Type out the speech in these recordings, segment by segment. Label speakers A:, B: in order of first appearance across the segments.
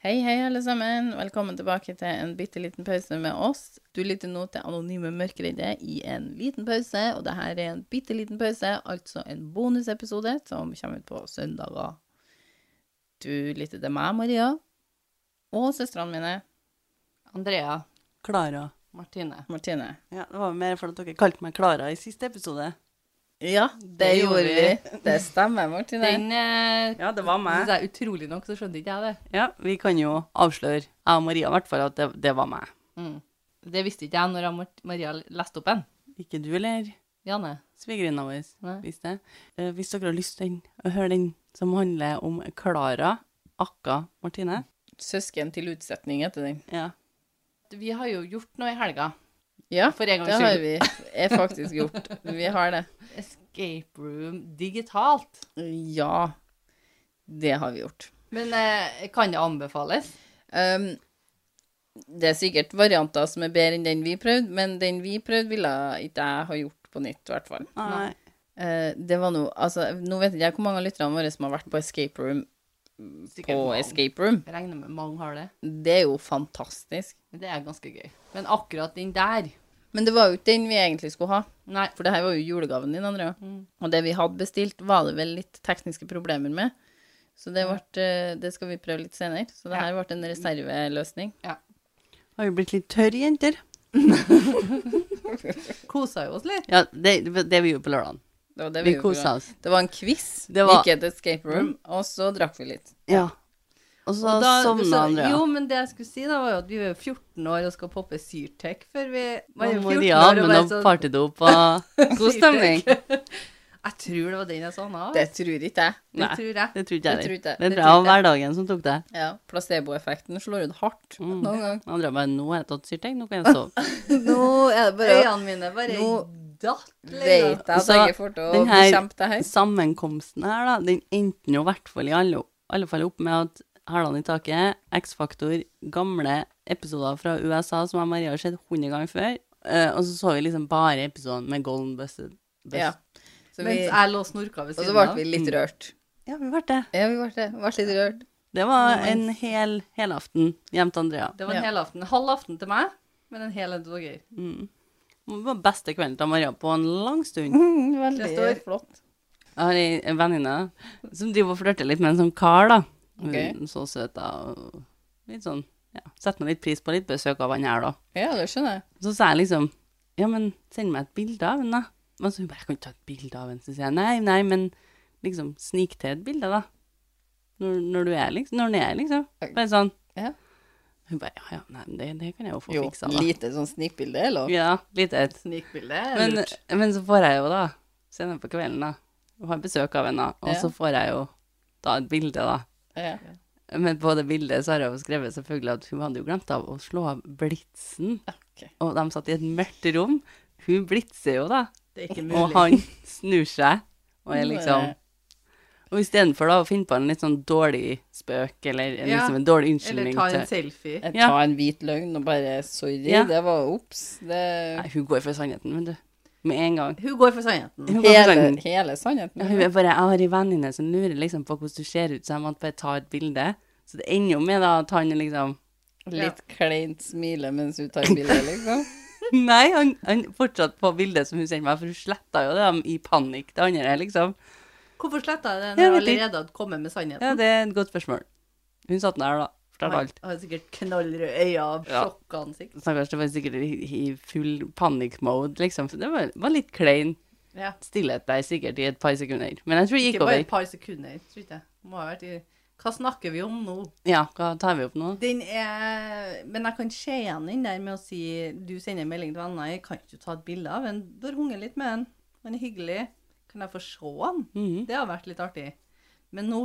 A: Hei, hei, alle sammen. Velkommen tilbake til en bitte liten pause med oss. Du lytter nå til Anonyme mørkeredde i en liten pause, og det her er en bitte liten pause, altså en bonusepisode som kommer ut på søndager. Du lytter til meg, Maria, og søstrene mine,
B: Andrea.
C: Klara.
B: Martine.
A: Martine.
C: Ja, det var mer fordi dere kalte meg Klara i siste episode.
A: Ja, det,
B: Det gjorde
A: gjorde vi. Det stemmer, Martine.
B: Den eh,
C: Ja, det var
B: synes jeg utrolig nok, så skjønte ikke jeg det.
C: Ja, vi kan jo avsløre, jeg og Maria i hvert fall, at det, det var meg.
B: Mm. Det visste ikke jeg når jeg Mar- Maria leste opp den.
C: Ikke du, eller?
B: Janne.
C: Svigerinna vår
B: Nei.
C: visste det. Eh, Hvis dere har lyst til den, å høre den som handler om Klara, akka Martine.
A: Søsken til utsetning heter den.
C: Ja.
B: Vi har jo gjort noe i helga.
A: Ja,
B: For en gangs
A: det har
B: skyld.
A: vi er faktisk gjort. Vi har det.
B: Escape room digitalt.
A: Ja, det har vi gjort.
B: Men eh, kan det anbefales?
A: Um, det er sikkert varianter som er bedre enn den vi prøvde, men den vi prøvde, ville ikke jeg ha gjort på nytt, i hvert fall.
C: Nei.
A: Eh, det var noe, altså, nå vet ikke jeg hvor mange av lytterne våre som har vært på Escape Room på
B: mange.
A: Escape Room.
B: Jeg regner med mange har det.
A: Det er jo fantastisk.
B: Men det er ganske gøy. Men akkurat den der
A: Men det var jo ikke den vi egentlig skulle ha,
B: Nei.
A: for det her var jo julegaven din, Andrea.
C: Mm.
A: Og det vi hadde bestilt, var det vel litt tekniske problemer med. Så det, ble, eh, det skal vi prøve litt senere. Så det
B: Ja.
A: her ble en reserveløsning.
C: Har vi blitt litt tørre, jenter?
B: Kosa jo oss litt.
C: Ja, det, det vi gjorde på lørdagen.
A: Det var det
C: Vi
A: gjorde på
C: koset oss.
A: Det var en quiz.
C: Det var-
A: Vi gikk et escape room, og så drakk vi litt.
C: Ja. Og så
B: Og da-
C: sovna
B: så-
C: Andrea.
B: Jo, men det jeg skulle si, da, var jo at vi er 14 år og skal poppe Syrtec før vi
C: Og
B: jo 14
C: Maria
B: år
C: med
B: og bare
C: noe
B: sånn-
C: partydop og god stemning.
B: Jeg tror det var den jeg sovna av.
A: Det tror ikke jeg.
B: Det
C: Nei.
B: tror jeg.
C: Det tror ikke
A: Det tror
C: jeg heller.
A: ikke jeg.
C: Det
A: Det
C: tror
A: tror
C: jeg var
A: ikke
C: hverdagen som tok deg.
A: Ja, Placeboeffekten slår ut hardt noen ganger.
C: Andrea bare 'Nå har jeg tatt Syrtec, nå kan jeg sove'.
A: Nå er det
B: Øynene mine bare
A: Nå
B: datt
A: Vet
B: litt.
A: jeg at
C: Så
A: jeg er fort å
C: den her-
A: bekjempe det her.
C: Sammenkomsten her, da, den endte nå i hvert fall i alle, alle fall opp med at Hælene i taket, X-Faktor, gamle episoder fra USA som jeg og Maria har sett 100 ganger før, eh, og så så vi liksom bare episoden med Golden Busted. Bust.
A: Ja. Så vi,
B: Mens jeg lå og snorka ved
A: og så
B: siden
A: ble
B: av.
A: vi litt rørt.
C: ja, vi ble det.
A: Ja, vi ble det. Ble litt rørt.
C: Det var en hel helaften hjem til Andrea.
B: Det var en
A: Ja.
B: hel aften. Halv aften til meg, men en hel en til dere.
C: Mm. Det var beste kvelden til Maria på en lang stund.
A: Veldig
B: står-
A: flott.
C: Jeg har ei- en venninne som driver og flørter litt med en sånn kar, da. Hun
A: Ok.
C: er Så søt, da. og Litt sånn, ja. Setter meg litt pris på litt besøk av han her, da.
A: Ja, det skjønner jeg.
C: Så sa jeg liksom, ja, men send meg et bilde av henne, da. Men så hun bare, jeg kan ikke ta et bilde av henne. Så sier jeg, nei, nei, men liksom snik til et bilde, da. Når, når du er, liksom. Når hun er, liksom. Bare sånn.
A: Ja.
C: Hun bare, ja, ja, nei, men det, det kan jeg jo få
A: Jo,
C: fiksa, da.
A: lite sånn snikbilde, eller?
C: Ja, litt et.
B: Snikbilde. er
C: Men,
B: lurt.
C: men så får jeg jo da, senere på kvelden da, og har besøk av henne, og
A: Ja.
C: så får jeg jo da et bilde da.
A: Ja.
C: Men på det bildet så har jeg jo skrevet selvfølgelig at hun hadde jo glemt av å slå av blitsen,
A: ok.
C: og de satt i et mørkt rom. Hun blitser jo da,
B: det er ikke
C: og
B: mulig.
C: han snur seg, og er
A: Nå er
C: liksom... Og i stedet for da å finne på en litt sånn dårlig spøk, eller en,
B: Ja,
C: liksom en dårlig
B: Eller
C: unnskyldning
B: ta en
C: til...
B: selfie.
A: Jeg
C: Ja.
A: tar en hvit løgn og bare sorry,
C: Ja.
A: det var ops. Det
C: Nei, hun går for sannheten, men du, med en gang.
B: Hun går for sannheten.
C: Hun går for
A: hele,
C: sannheten.
A: hele sannheten.
C: Ja, hun er bare, jeg har en venninne som lurer liksom på hvordan du ser ut, så jeg måtte bare ta et bilde. Så det ender jo med da at han er liksom
A: Litt kleint smile mens hun tar bilde, liksom.
C: Nei, han, han fortsatt på bildet som hun sendte meg, for hun sletta jo dem i panikk, det andre, liksom.
B: Hvorfor sletta jeg det
C: Jeg
B: når jeg
C: vet ikke.
B: allerede hadde kommet med sannheten?
C: Ja, det er et godt spørsmål. Hun satt der, da. Fortalte alt.
B: Har sikkert knallrøde øyne og
C: Ja.
B: sjokkansikt.
C: Stakkars, det var sikkert i, i full panikkmode, liksom. Så det var, var litt klein
B: Ja.
C: stillhet der sikkert i et par sekunder. Men jeg tror det
B: Ikke
C: gikk
B: bare
C: over.
B: et par sekunder, tror ikke jeg. Må ha vært i... Hva snakker vi om nå?
C: Ja, hva tar vi opp nå?
B: Den er Men jeg kan se igjen den der med å si Du sender en melding til venner, jeg kan ikke ta et bilde av den. Du har hunget litt med den. Han er hyggelig. Kan jeg få se den?
C: Mhm.
B: Det har vært litt artig. Men nå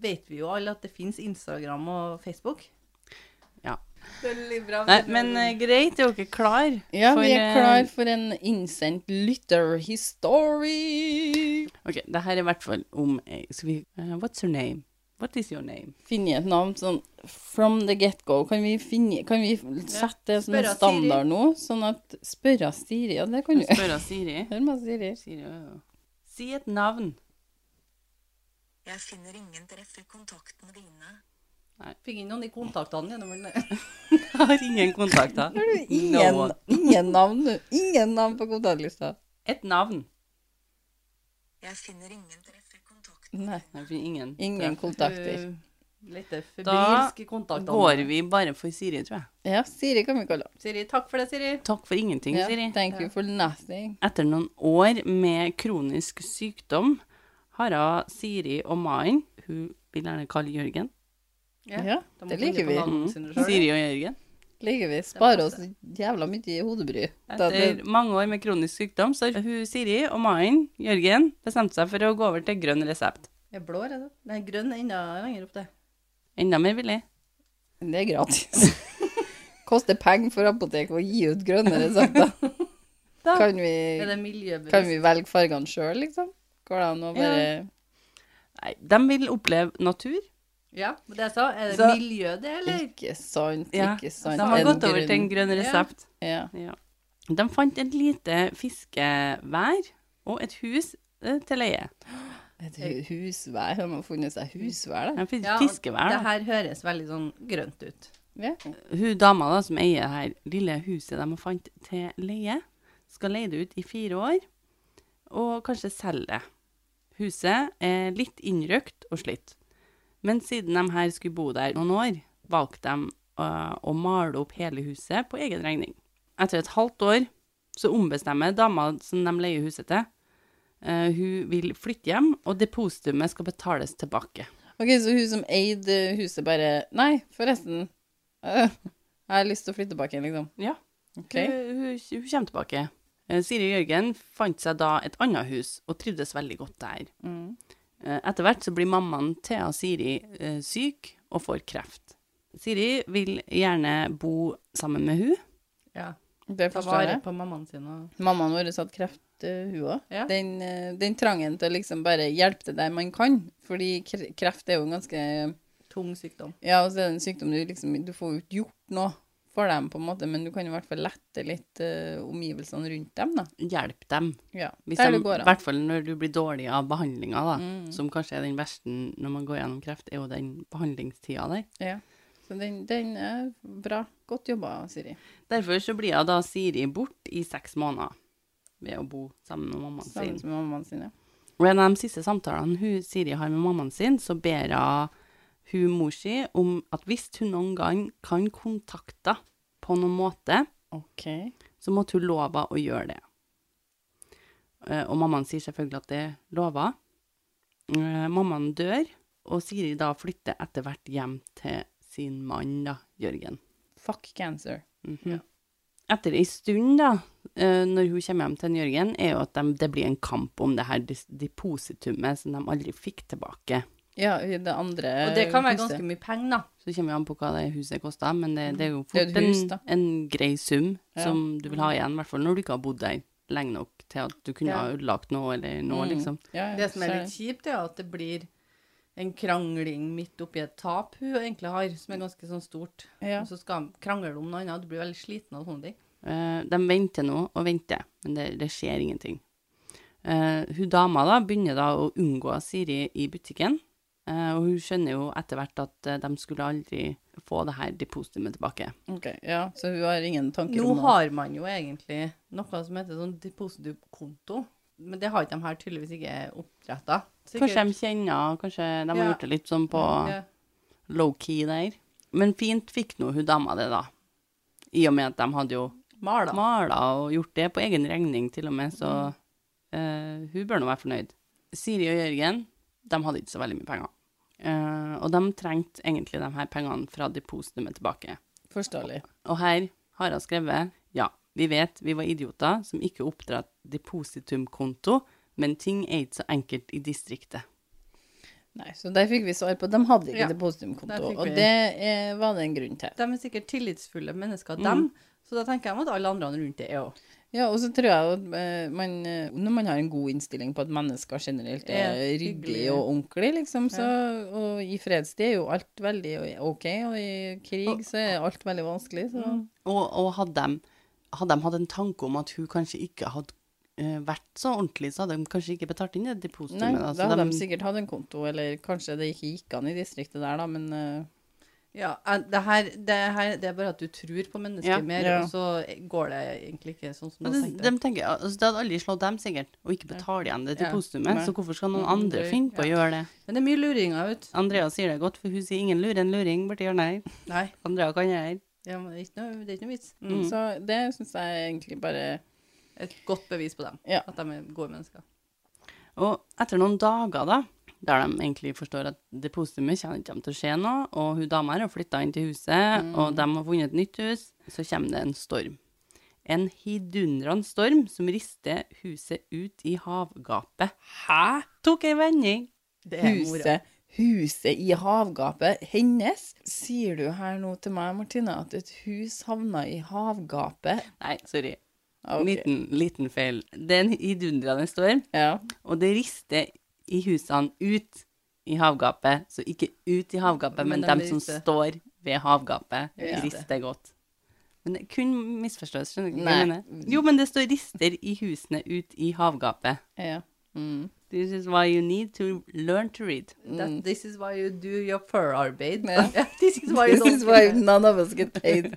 B: vet vi jo alle at det fins Instagram og Facebook.
C: Ja.
B: Veldig bra.
C: Nei, men eh, greit, er dere klar?
A: Ja, vi er
C: eh,
A: klar for en innsendt lytterhistory.
C: Ok, det her er i hvert fall om eh, Skal vi eh, What's your name? What is your name?
A: Finne et navn sånn from the get-go. Kan vi, finne, kan vi sette det som en sånn
B: Spørre
A: standard nå? Sånn at Spørre Siri, ja, det kan du.
C: Spør av Siri.
A: Hør meg, Siri.
C: Siri ja, ja. Si et navn.
D: Jeg finner ingen treffer kontaktene dine.
C: Nei.
B: eh, Fikk inn noen i kontaktene eh, gjennom den.
C: Jeg har ingen kontakter.
A: Har du
C: No
A: ingen,
C: one.
A: ingen navn nå? Ingen navn på kontaktlista?
C: Et navn.
D: Jeg finner ingen treffer kontakt.
A: Nei.
C: Jeg finner ingen.
A: Ingen kontakter.
B: Litt
C: Da
B: febrilsk i kontaktene.
C: Går vi bare for Siri, tror jeg.
A: Ja, Siri kan vi kalle henne.
B: Siri, takk for det, Siri.
C: Takk for ingenting,
A: Ja,
C: Siri.
A: thank you for nothing.
C: Etter noen år med kronisk sykdom har hun Siri og Maren Hun vil gjerne kalle Jørgen.
A: Ja,
B: de må
A: det
B: finne
A: liker
B: på
A: vi.
B: navnene
C: Mm.
B: sine selv.
C: Siri og Jørgen.
A: Liker vi. Sparer oss jævla mye i hodebry. Da,
C: Etter
A: det,
C: mange år med kronisk sykdom så har hun Siri og Maren Jørgen bestemt seg for å gå over til grønn resept.
B: Er blå, er det? Nei, grønn er enda lenger opp det.
C: Enda mer billig.
A: det er gratis. Koster penger for apoteket å gi ut grønne resepter.
C: Da.
A: Kan
B: Er
A: vi,
B: det miljøbevisst?
A: kan vi velge fargene sjøl, liksom? Går det an å bare
C: Nei, de vil oppleve natur.
B: Ja, men det jeg sa, er det
C: Så-
B: miljø det, eller?
A: Ikke sant,
C: Ja,
A: ikke sant.
C: De har
A: En
C: gått over til en
A: grunn.
C: grønn resept.
A: ja.
C: Ja. De fant et lite fiskevær og et hus eh, til leie.
A: Et hu- husvær. De har funnet seg husvær, da.
C: De finner
B: Ja,
C: fiskevær,
B: Det
C: da.
B: her høres veldig sånn grønt ut.
A: Ja.
C: Hun dama da, som eier det her lille huset de har fant til leie, skal leie det ut i fire år, og kanskje selge det. Huset er litt innrøkt og slitt. Men siden de her skulle bo der noen år, valgte de øh, å male opp hele huset på egen regning. Etter et halvt år så ombestemmer dama som de leier huset til. Eh, hun vil flytte hjem, og depositumet skal betales tilbake.
A: Ok, så hun som eide huset bare Nei, forresten. øh, Jeg har lyst til å flytte tilbake igjen, liksom.
C: Ja.
A: Ok.
C: Hun, hun, hun kommer tilbake. Eh, Siri Jørgen fant seg da et annet hus, og trivdes veldig godt der.
A: Mm.
C: Eh, Etter hvert så blir mammaen til Siri eh, syk og får kreft. Siri vil gjerne bo sammen med hun.
B: Ja,
A: Det
B: Ta
A: forstår
B: vare
A: jeg.
B: på mammaen sin og
A: Mammaen vår hadde kreft, øh, hun òg.
B: Ja.
A: Den, øh, den trangen til å liksom bare hjelpe til der man kan. Fordi kre- kreft er jo en ganske
B: tung sykdom.
A: Ja, og så er det en sykdom du liksom Du får jo ikke gjort noe for dem, på en måte, men du kan i hvert fall lette litt øh, omgivelsene rundt dem, da.
C: Hjelp dem.
A: Ja.
C: Hvis
A: Der
C: de,
A: det går
C: I
A: an. Mm,
C: hvert fall når du blir dårlig av behandlinga, da. Som kanskje er den verste når man går gjennom kreft, er jo den behandlingstida der.
A: Ja. Så den, den er bra. Godt jobba, Siri.
C: Derfor så blir hun da Siri bort i seks måneder ved å bo sammen med mammaen sin.
A: Sammen med mammaen sin, ja.
C: Og en av de siste samtalene hun Siri har med mammaen sin, så ber hun hun mor si om at hvis hun noen gang kan kontakte henne på noen måte,
A: OK.
C: så måtte hun love henne å gjøre det. Eh, Og mammaen sier selvfølgelig at det lover. hun. Eh, Mammaen dør, og Siri da flytter etter hvert hjem til sin mann, da, Jørgen.
A: Fuck cancer.
C: Mhm. Etter ei stund, da, eh, når hun kommer hjem til en Jørgen, er jo at de, det blir en kamp om det her dis- depositumet som de aldri fikk tilbake.
A: Ja, i det
C: Eh,
A: andre
B: Og det kan være
A: huset.
B: ganske mye penger, da.
C: Så kommer det an på hva det huset koster, men det, det er jo
A: Mhm. Det er
C: fort
A: et hus, da.
C: en, en grei sum
A: Ja.
C: som du vil ha igjen, i hvert fall når du ikke har bodd der lenge nok til at du kunne
B: Ja.
C: ha ødelagt noe eller noe,
A: Mm.
C: liksom.
A: Ja, ja,
B: Det som er
A: så-
B: litt kjipt, er at det blir en krangling midt oppi et tap hun egentlig har, som er ganske sånn stort.
A: ja.
B: Og så skal hun krangle om noe annet, du blir veldig sliten av sånne ting.
C: Eh, de venter nå og venter, men det, det skjer ingenting. Eh, hun dama da begynner da å unngå Siri i butikken, eh, og hun skjønner jo etter hvert at eh, de skulle aldri få det her depositumet tilbake.
A: Ok, ja. Så hun har ingen tanker
B: Nå
A: om noe?
B: har man jo egentlig noe som heter sånn depositumkonto, men det har ikke de her tydeligvis ikke oppretta.
C: Kanskje de kjenner, kanskje de har
B: Ja.
C: gjort det litt sånn på low-key der. Men fint fikk nå hun dama det, da. I og med at de hadde jo
B: Mala.
C: mala og gjort det på egen regning, til og med, så eh, hun bør nå være fornøyd. Siri og Jørgen de hadde ikke så veldig mye penger. Eh, og de trengte egentlig de her pengene fra depositumet tilbake.
A: Forståelig.
C: Og her har hun skrevet ja, vi vet vi var idioter som ikke oppdra depositumkonto, men ting er ikke så enkelt i distriktet.
A: Nei, så der fikk vi svar på De hadde ikke
B: Ja, der
A: depositumkonto,
B: fikk
A: og
B: vi-
A: det eh, var det en grunn til.
B: De er sikkert tillitsfulle mennesker, dem.
C: Mm.
B: Så da tenker jeg at alle andre rundt det er òg.
A: Ja, og så tror jeg jo at eh, man eh, Når man har en god innstilling på at mennesker generelt er
B: Er
A: ryddig
B: hyggelig.
A: og ordentlig, liksom, så Og i fredstid er jo alt veldig OK, og i krig så er alt veldig vanskelig, så
B: Mm.
C: Og, og hadde, de, hadde de hatt en tanke om at hun kanskje ikke hadde eh, vært så ordentlig, så hadde de kanskje ikke betalt inn det altså depositumet.
A: Nei,
C: da,
A: da
C: så
A: hadde de sikkert hatt en konto, eller kanskje det ikke gikk an i distriktet der, da, men eh,
B: Ja, eh, det her, det her det er bare at du tror på mennesker
C: Ja.
B: mer,
A: Ja.
B: og så går det egentlig ikke sånn som
C: Og
B: du
C: det,
B: tenkte.
C: de tenker, altså, det hadde aldri slått dem sikkert å ikke betale igjen det til
B: Ja.
C: postumet,
A: Nei.
C: så hvorfor skal noen
B: Mm,
C: andre
B: det-
C: finne på å gjøre det?
B: Men det er mye luringer, vet du.
C: Andrea sier det godt, for hun sier ingen lurer en luring borti hjørnet her.
B: Nei,
C: Andrea kan gjøre det her.
B: det er ikke noe, det er ikke noe vits.
C: Mm.
A: Så det syns jeg egentlig bare
B: Et godt bevis på dem,
A: Ja.
B: at de er gode mennesker.
C: Og etter noen dager, da, der de egentlig forstår at depositumet kommer ikke til å skje noe, og hun dama her har flytta inn til huset,
A: Mm.
C: og de har funnet et nytt hus, så kommer det en storm. En hidundrende storm som rister huset ut i havgapet.
A: Hæ?
C: Tok ei vending.
B: Det er moro.
A: Huset, huset i havgapet hennes? Sier du her nå til meg, Martine, at et hus havna i havgapet?
C: Nei, sorry.
A: Ah, ok.
C: Liten, liten feil. Det er en hidundrende storm,
A: Ja.
C: og det rister i husene ut i havgapet. Så ikke ut i havgapet, men,
B: Men
C: dem
B: de
C: som
B: rister.
C: står ved havgapet,
A: Ja.
C: rister godt. Men det kun misforstås, skjønner du ikke hva jeg
A: Nei.
C: mener? Jo, men det står 'rister i husene ut i havgapet'.
A: ja. Mm.
C: This is why you need to learn to read.
B: That, this is why you do your fur-arbeid.
A: Ja.
B: This is why you
A: This
B: don't
A: is why none of us get paid.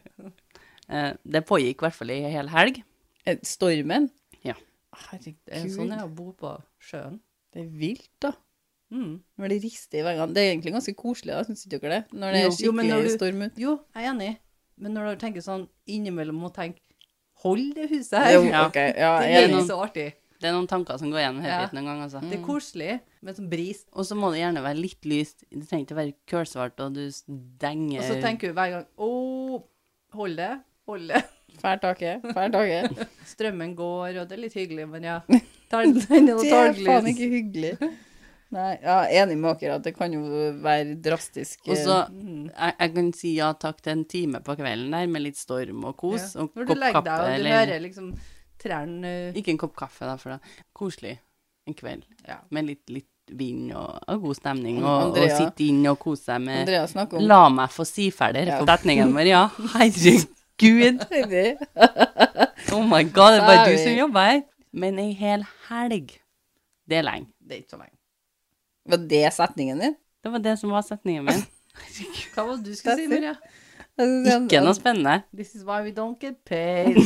C: Eh, det pågikk i hvert fall i ei hel helg.
A: Eh, Stormen?
C: Ja.
A: Herregud.
B: Det er sånn det er å bo på sjøen.
A: Det er vilt, da.
B: Mm.
A: Når det rister i veggene. Det er egentlig ganske koselig, da, syns ikke dere det? Når det
B: Jo.
A: er
B: Jo, men
A: skikkelig
B: når du-
A: storm ute.
B: Jo, jeg er enig. Men når du tenker sånn, innimellom må du tenke, hold det huset her.
A: Jo,
C: Ja.
A: ok. Ja, jeg
B: Det er
A: er
B: ikke
A: enig. Mm.
B: så artig.
C: Det er noen tanker som går gjennom hodet
B: Ja.
C: ditt noen ganger, altså.
B: Det er koselig, men som bris.
C: Og så må det gjerne være litt lyst. Det trenger ikke å være kølsvart, og du denger
B: Og så tenker du hver gang Å, hold det, hold det.
A: Fælt take. Fælt take.
B: Strømmen går, og det er litt hyggelig, men ja. Tar den og
A: Det
B: tar
A: er
B: den
A: faen
B: lys.
A: ikke hyggelig. Nei, ja, enig med dere at det kan jo være drastisk eh,
B: Eh,
C: Og så
B: mm.
C: jeg, jeg kan si ja takk til en time på kvelden der med litt storm og kos.
B: Ja.
C: Og
B: Når du
C: kopp
B: legger
C: kaffe.
B: deg, og du
C: sånn eller,
B: hører liksom trærne eh,
C: Ikke en kopp kaffe, da, for da koselig en kveld
B: Ja.
C: med litt, litt vind og, og god stemning. Og, og
A: Andrea-
C: sitte inn og kose seg med
A: Andrea snakker om
C: La meg få si ferdig
A: Ja.
C: fortetningen vår, ja. Herregud!
A: Heidi.
C: Oh my god, det er bare du
A: Sorry.
C: som jobber her. Men ei hel helg, det er lenge.
B: Det er ikke så lenge.
A: Var det setningen din?
C: Det var det som var setningen min.
B: Hva var det du skulle
A: That's
B: si,
A: it.
B: Maria?
A: Jeg synes jeg-
C: Ikke noe spennende.
B: This is why we don't get paid.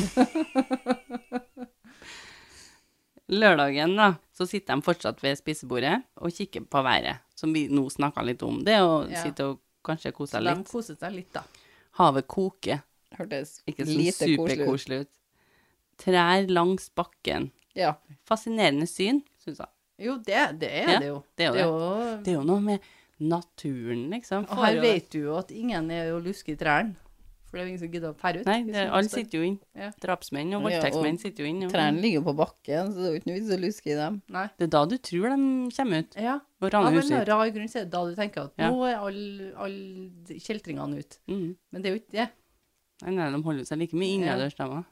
C: Lørdagen da, så sitter de fortsatt ved spisebordet og kikker på været, som vi nå snakket litt om. Det å
B: Ja.
C: sitte og kanskje kose
B: Så
C: seg
B: de
C: litt.
B: koset seg litt, da.
C: Havet koker,
A: Hørtes
C: ikke sånn
A: lite koselig ut.
C: superkoselig ut. Trær langs bakken.
A: Ja.
C: Fascinerende syn, synes jeg.
B: Jo, det, det er
C: Ja,
B: det jo.
C: det er jo
B: det.
C: det.
B: er jo
C: Det er jo noe med naturen, liksom.
B: Og her
C: Får jo det.
B: vet du jo at ingen er jo luske i trærne. For det er jo ingen som gidder å fære ut.
C: Nei,
B: hvis
C: det,
B: man
C: alle
B: står.
C: sitter jo inn.
B: Ja.
C: Drapsmenn og
A: Ja, og
C: voldtektsmenn sitter jo inn. og-
A: Trærne ligger jo på bakken, så det er jo ikke noe vits å luske i dem.
B: Nei.
C: Det er da du tror de kommer ut
B: Ja.
C: og
B: Av
C: raner
B: en
C: huset
B: eller
C: ditt.
B: annen rar grunn så er det da du tenker at
C: Ja.
B: nå er alle all kjeltringene ute.
C: Mm.
B: Men det er jo ikke det.
C: Nei, nei, de holder seg like mye
B: Ja.
C: innadørs, de også.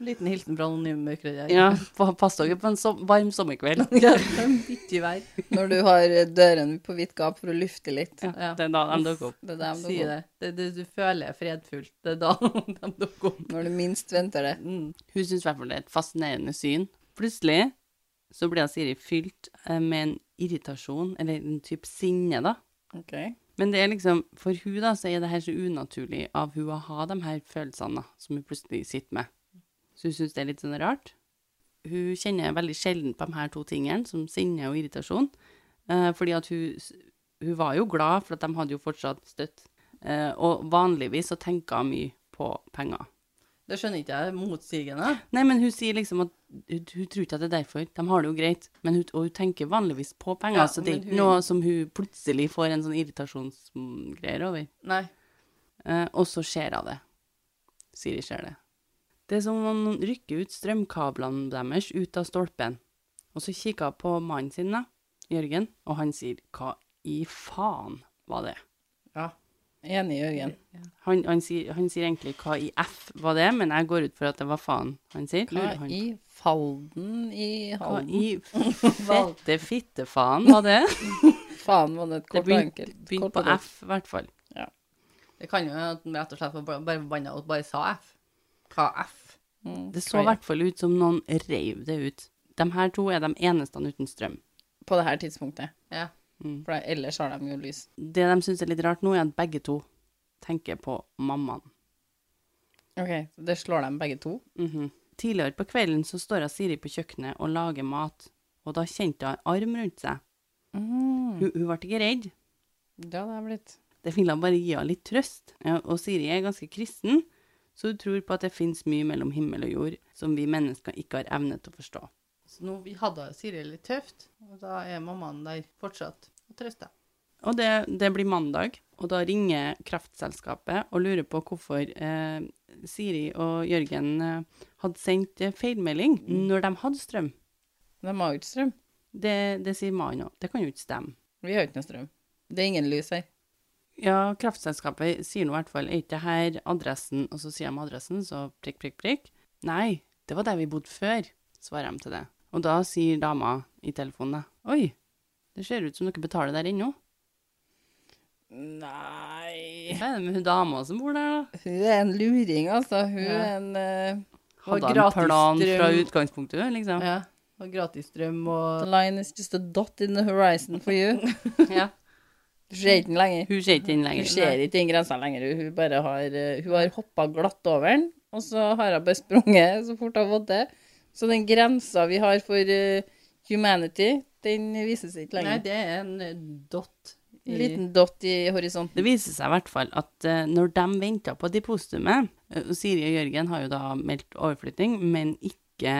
B: Liten hilsen fra anonyme mørkere.
C: Ja, pa- pass dere på en so varm sommerkveld.
B: ja. Bytte i vær.
A: Når du har døren på vidt gap for å lufte litt.
C: Ja,
B: Ja.
C: det er da de dukker opp.
A: Det er dem du
B: Si
A: får.
B: det. det, det du føler er fredfullt. Det er da de dukker opp.
A: Når du minst venter det.
B: Mm.
C: Hun syns i hvert fall det er et fascinerende syn. Plutselig så blir hun Siri fylt eh, med en irritasjon, eller en type sinne, da.
A: Ok.
C: Men det er liksom, for hun da, så er det her så unaturlig av hun å ha de her følelsene da, som hun plutselig sitter med. Så hun syns det er litt sånn rart. Hun kjenner veldig sjelden på de her to tingene, som sinne og irritasjon. Eh, fordi at hun, s- hun var jo glad, for at de hadde jo fortsatt støtt. Eh, og vanligvis så tenker hun mye på penger.
B: Det skjønner ikke jeg. Motsigende.
C: Nei, men hun sier liksom at hun, hun tror ikke at det er derfor. De har det jo greit. Men hun, og hun tenker vanligvis på penger,
B: Ja,
C: så det er
B: men
C: ikke
B: hun-
C: noe som hun plutselig får en sånn irritasjonsgreier over.
B: Nei.
C: Eh, og så ser hun det. Siri ser det. Det er som om noen rykker ut strømkablene deres ut av stolpen. Og så kikker hun på mannen sin, da, Jørgen, og han sier 'hva i faen var det'?
A: Enig, Jørgen.
C: Han, han, sier, han sier egentlig 'hva i f var det', men jeg går ut for at det var faen han sier. Lurer
A: Hva
C: han
A: i falden i
C: Hva
A: Halden?
C: i fette fittefaen var det?
A: Faen, var det et
C: Det
A: kort og
C: begynte
A: enkelt.
C: begynt
A: Kort
C: på
A: og godt.
C: F, i hvert fall.
B: Det kan jo hende at de rett og slett var bare bare forbanna og bare sa F. Hva F?
A: Mm.
C: Det så i hvert fall ut som noen reiv det ut. De her to er de eneste uten strøm. Mm.
A: På det her tidspunktet.
B: Ja.
A: For ellers har de jo lys.
C: Det de syns er litt rart nå, er at begge to tenker på mammaen.
A: Ok, så det slår dem begge to.
C: Mhm. Tidligere på kvelden så står jeg Siri på kjøkkenet og lager mat, og da kjente jeg en arm rundt seg.
A: Mm.
C: Hun, hun ble ikke redd.
A: Det hadde jeg blitt.
C: Det ville bare gi henne litt trøst. Ja, og Siri er ganske kristen, så hun tror på at det finnes mye mellom himmel og jord som vi mennesker ikke har evne til å forstå.
B: Så nå vi hadde Siri litt tøft, og da er mammaen der fortsatt og trøster.
C: Og det, det blir mandag, og da ringer kraftselskapet og lurer på hvorfor eh, Siri og Jørgen eh, hadde sendt eh, feilmelding når de hadde strøm.
A: De har jo ikke strøm.
C: Det, det sier mannen òg. Det kan jo ikke stemme.
A: Vi har jo ikke noe strøm. Det er ingen lys her.
C: Ja, kraftselskapet sier nå i hvert fall er ikke det her adressen, og så sier de adressen, så prikk, prikk, prikk. Nei, det var der vi bodde før, svarer de til det. Og da sier dama i telefonen da, oi, det ser ut som dere betaler der ennå.
A: Nei
C: Hva er det med hun dama som bor der da?
A: Hun er en luring, altså. Hun
B: Ja.
A: er en eh,
B: Og
C: Hadde han
B: gratis
C: plan
B: strøm.
C: fra utgangspunktet, liksom?
B: Ja. Og gratis strøm og
A: Line is just a dot in the horizon for you.
C: Ja.
A: Du ser ikke den lenger.
C: Hun ser ikke inn
A: Hun
C: lenger.
A: ser ikke den grensa lenger. Hun bare har, eh, hun har hoppa glatt over den, og så har hun bare sprunget så fort hun har fått det. Så den grensa vi har for eh, humanity, den vises ikke
B: Nei,
A: lenger.
B: det er en dott i
A: En liten dott i horisonten.
C: Det viser seg i hvert fall at eh, når de venta på depositumet eh, og Siri og Jørgen har jo da meldt overflytting, men ikke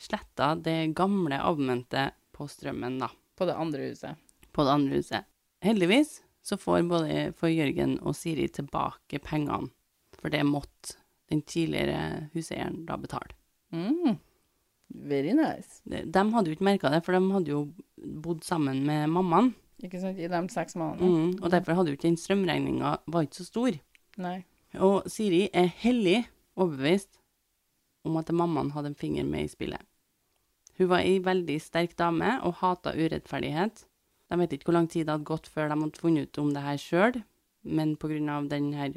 C: sletta det gamle abonnementet på strømmen, da.
A: På det andre huset.
C: På det andre huset. Heldigvis så får både får Jørgen og Siri tilbake pengene, for det måtte den tidligere huseieren da betale.
A: Mm. Very nice.
C: De de hadde jo ikke merka det, for de hadde jo bodd sammen med mammaen.
A: Ikke sant? I de seks månedene.
C: Mm, og derfor hadde jo ikke den strømregninga var ikke så stor.
A: Nei.
C: Og Siri er hellig overbevist om at mammaen hadde en finger med i spillet. Hun var ei veldig sterk dame og hata urettferdighet. De vet ikke hvor lang tid det hadde gått før de hadde funnet ut om det her sjøl, men pga. den her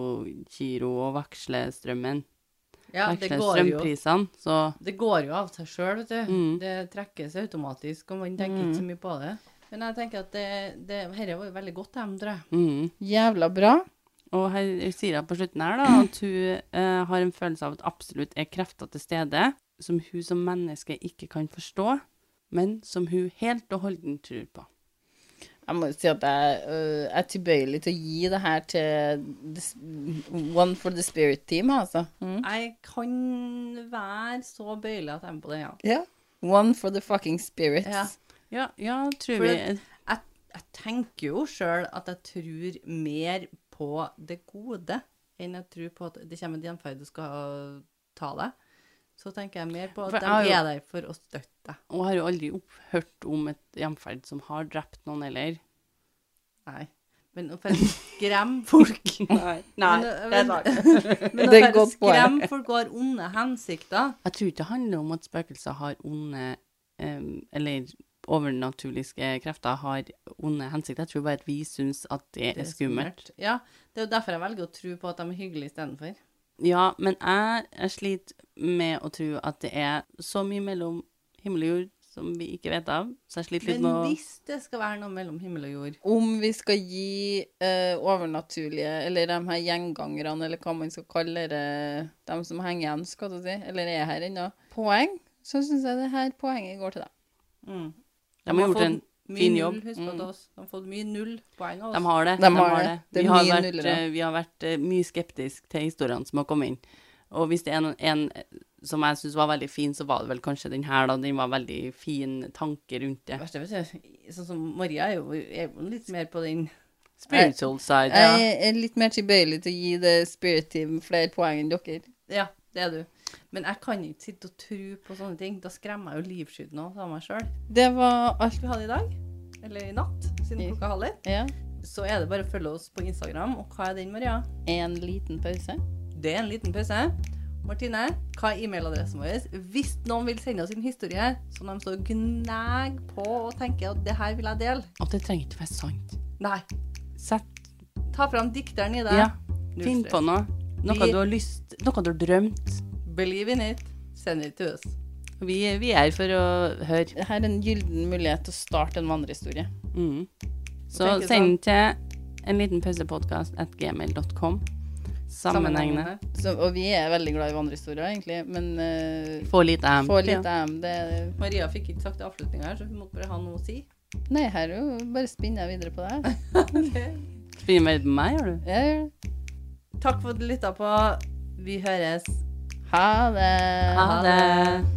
C: autogiro- og vekslestrømmen,
B: Ja, det går jo.
C: vekslestrømprisene, så
B: Det går jo av seg sjøl, vet du.
C: Mm.
B: Det trekkes automatisk, og man tenker ikke så mye på det. Men jeg tenker at det, det, herre var jo veldig godt hjem, tror jeg.
C: mm.
A: Jævla bra.
C: Og her sier hun på slutten her da, at hun eh, har en følelse av at absolutt er krefter til stede, som hun som menneske ikke kan forstå, men som hun helt og holdent tror på.
A: Jeg må jo si at jeg øh, er tilbøyelig til å gi det her til the, s- One for the Spirit Team, altså.
B: Jeg kan være så bøyelig at jeg er med på det, ja.
A: Ja. One for the fucking spirits.
C: Ja,
B: Ja.
C: ja tror
B: For
C: vi.
B: det- Jeg, jeg tenker jo sjøl at jeg tror mer på det gode enn jeg tror på at det kommer en gjenferd du skal ta deg. Så tenker jeg mer på at
C: For
B: de
C: jeg
B: er
C: har
B: der for å støtte deg.
C: Og har jo aldri opphørt om et jamferd som har drept noen heller.
B: Nei. Men for å skremme folk
C: Nei,
B: Men- Men
A: Det er
B: at
A: et godt
B: dere
A: poeng.
B: skremmer folk og har onde hensikter.
C: Jeg tror ikke det handler om at spøkelser har onde, eh, eller overnaturlige krefter har onde hensikter. Jeg tror bare at vi syns at det er skummelt.
B: Ja, det er jo derfor jeg velger å tro på at de er hyggelige istedenfor.
C: Ja, men jeg, jeg sliter med å tro at det er så mye mellom himmel og jord som vi ikke vet av. Så jeg sliter litt
B: Men
C: med å
B: hvis det skal være noe mellom himmel og jord
A: Om vi skal gi øh, overnaturlige, eller de her gjengangerne, eller hva man skal kalle det, de som henger igjen, skal du si, eller er her ennå, poeng, så syns jeg det her poenget går til deg.
B: mm.
C: De har gjort en
B: mye
C: fin
B: null,
C: jobb.
B: Husk på
A: Mm.
B: til oss. De har fått mye null poeng av
C: De
B: oss.
C: har det.
A: De
C: De
A: har
C: har
A: det.
C: det.
A: Det er
C: Vi har
A: mye
C: vært,
A: nullere.
C: eh, vi har vært eh, mye skeptisk til historiene som har kommet inn. Og hvis det er noen, en eh, som jeg syns var veldig fin, så var det vel kanskje den her, da. Den var veldig fin tanke rundt det.
B: Det verste, vet du. Sånn som Maria er jo, er jo litt mer på den
C: Spiritual side, ja.
A: Jeg er litt mer tilbøyelig til å gi The Spirit Team flere poeng enn dere.
B: Ja, det er du. Men jeg kan ikke sitte og tro på sånne ting. Da skremmer jeg jo livskyten av meg sjøl.
A: Det var alt.
B: Alt vi hadde i dag, eller i natt, siden klokka halv ett,
A: Ja.
B: så er det bare å følge oss på Instagram. Og hva er den, Maria?
A: En liten pause.
B: Det er en liten pause. Martine, hva er e-mailadressen vår? Hvis noen vil sende oss en historie som de så gnag på og tenker at det her vil jeg dele
C: Og det trenger ikke være sant.
B: Nei.
C: Sett
B: Ta fram dikteren i deg.
C: Ja. Finn på noe. Noe
B: Vi-
C: du har lyst Noe du har drømt.
B: Believe in it. Send it to us.
C: Vi, vi er her for å høre.
A: Her er en gylden mulighet til å starte en vandrehistorie.
C: Mm. Så
A: sånn?
B: tenker
C: send til En liten pausepodkast at gmail.com. Sammenhengende.
A: Så, og vi er veldig glad i vandrehistorier, egentlig, men uh,
C: Få litt em.
A: få litt av dem. Det er-
B: Maria fikk ikke sagt avslutninga her, så hun måtte bare ha noe å si.
A: Nei, her er jo bare spinner jeg videre på det her.
C: Ja. Spinner mer på meg, gjør du?
A: Jeg gjør det.
B: Takk for at du lytta på. Vi høres.
A: Ha det.
C: Ha det.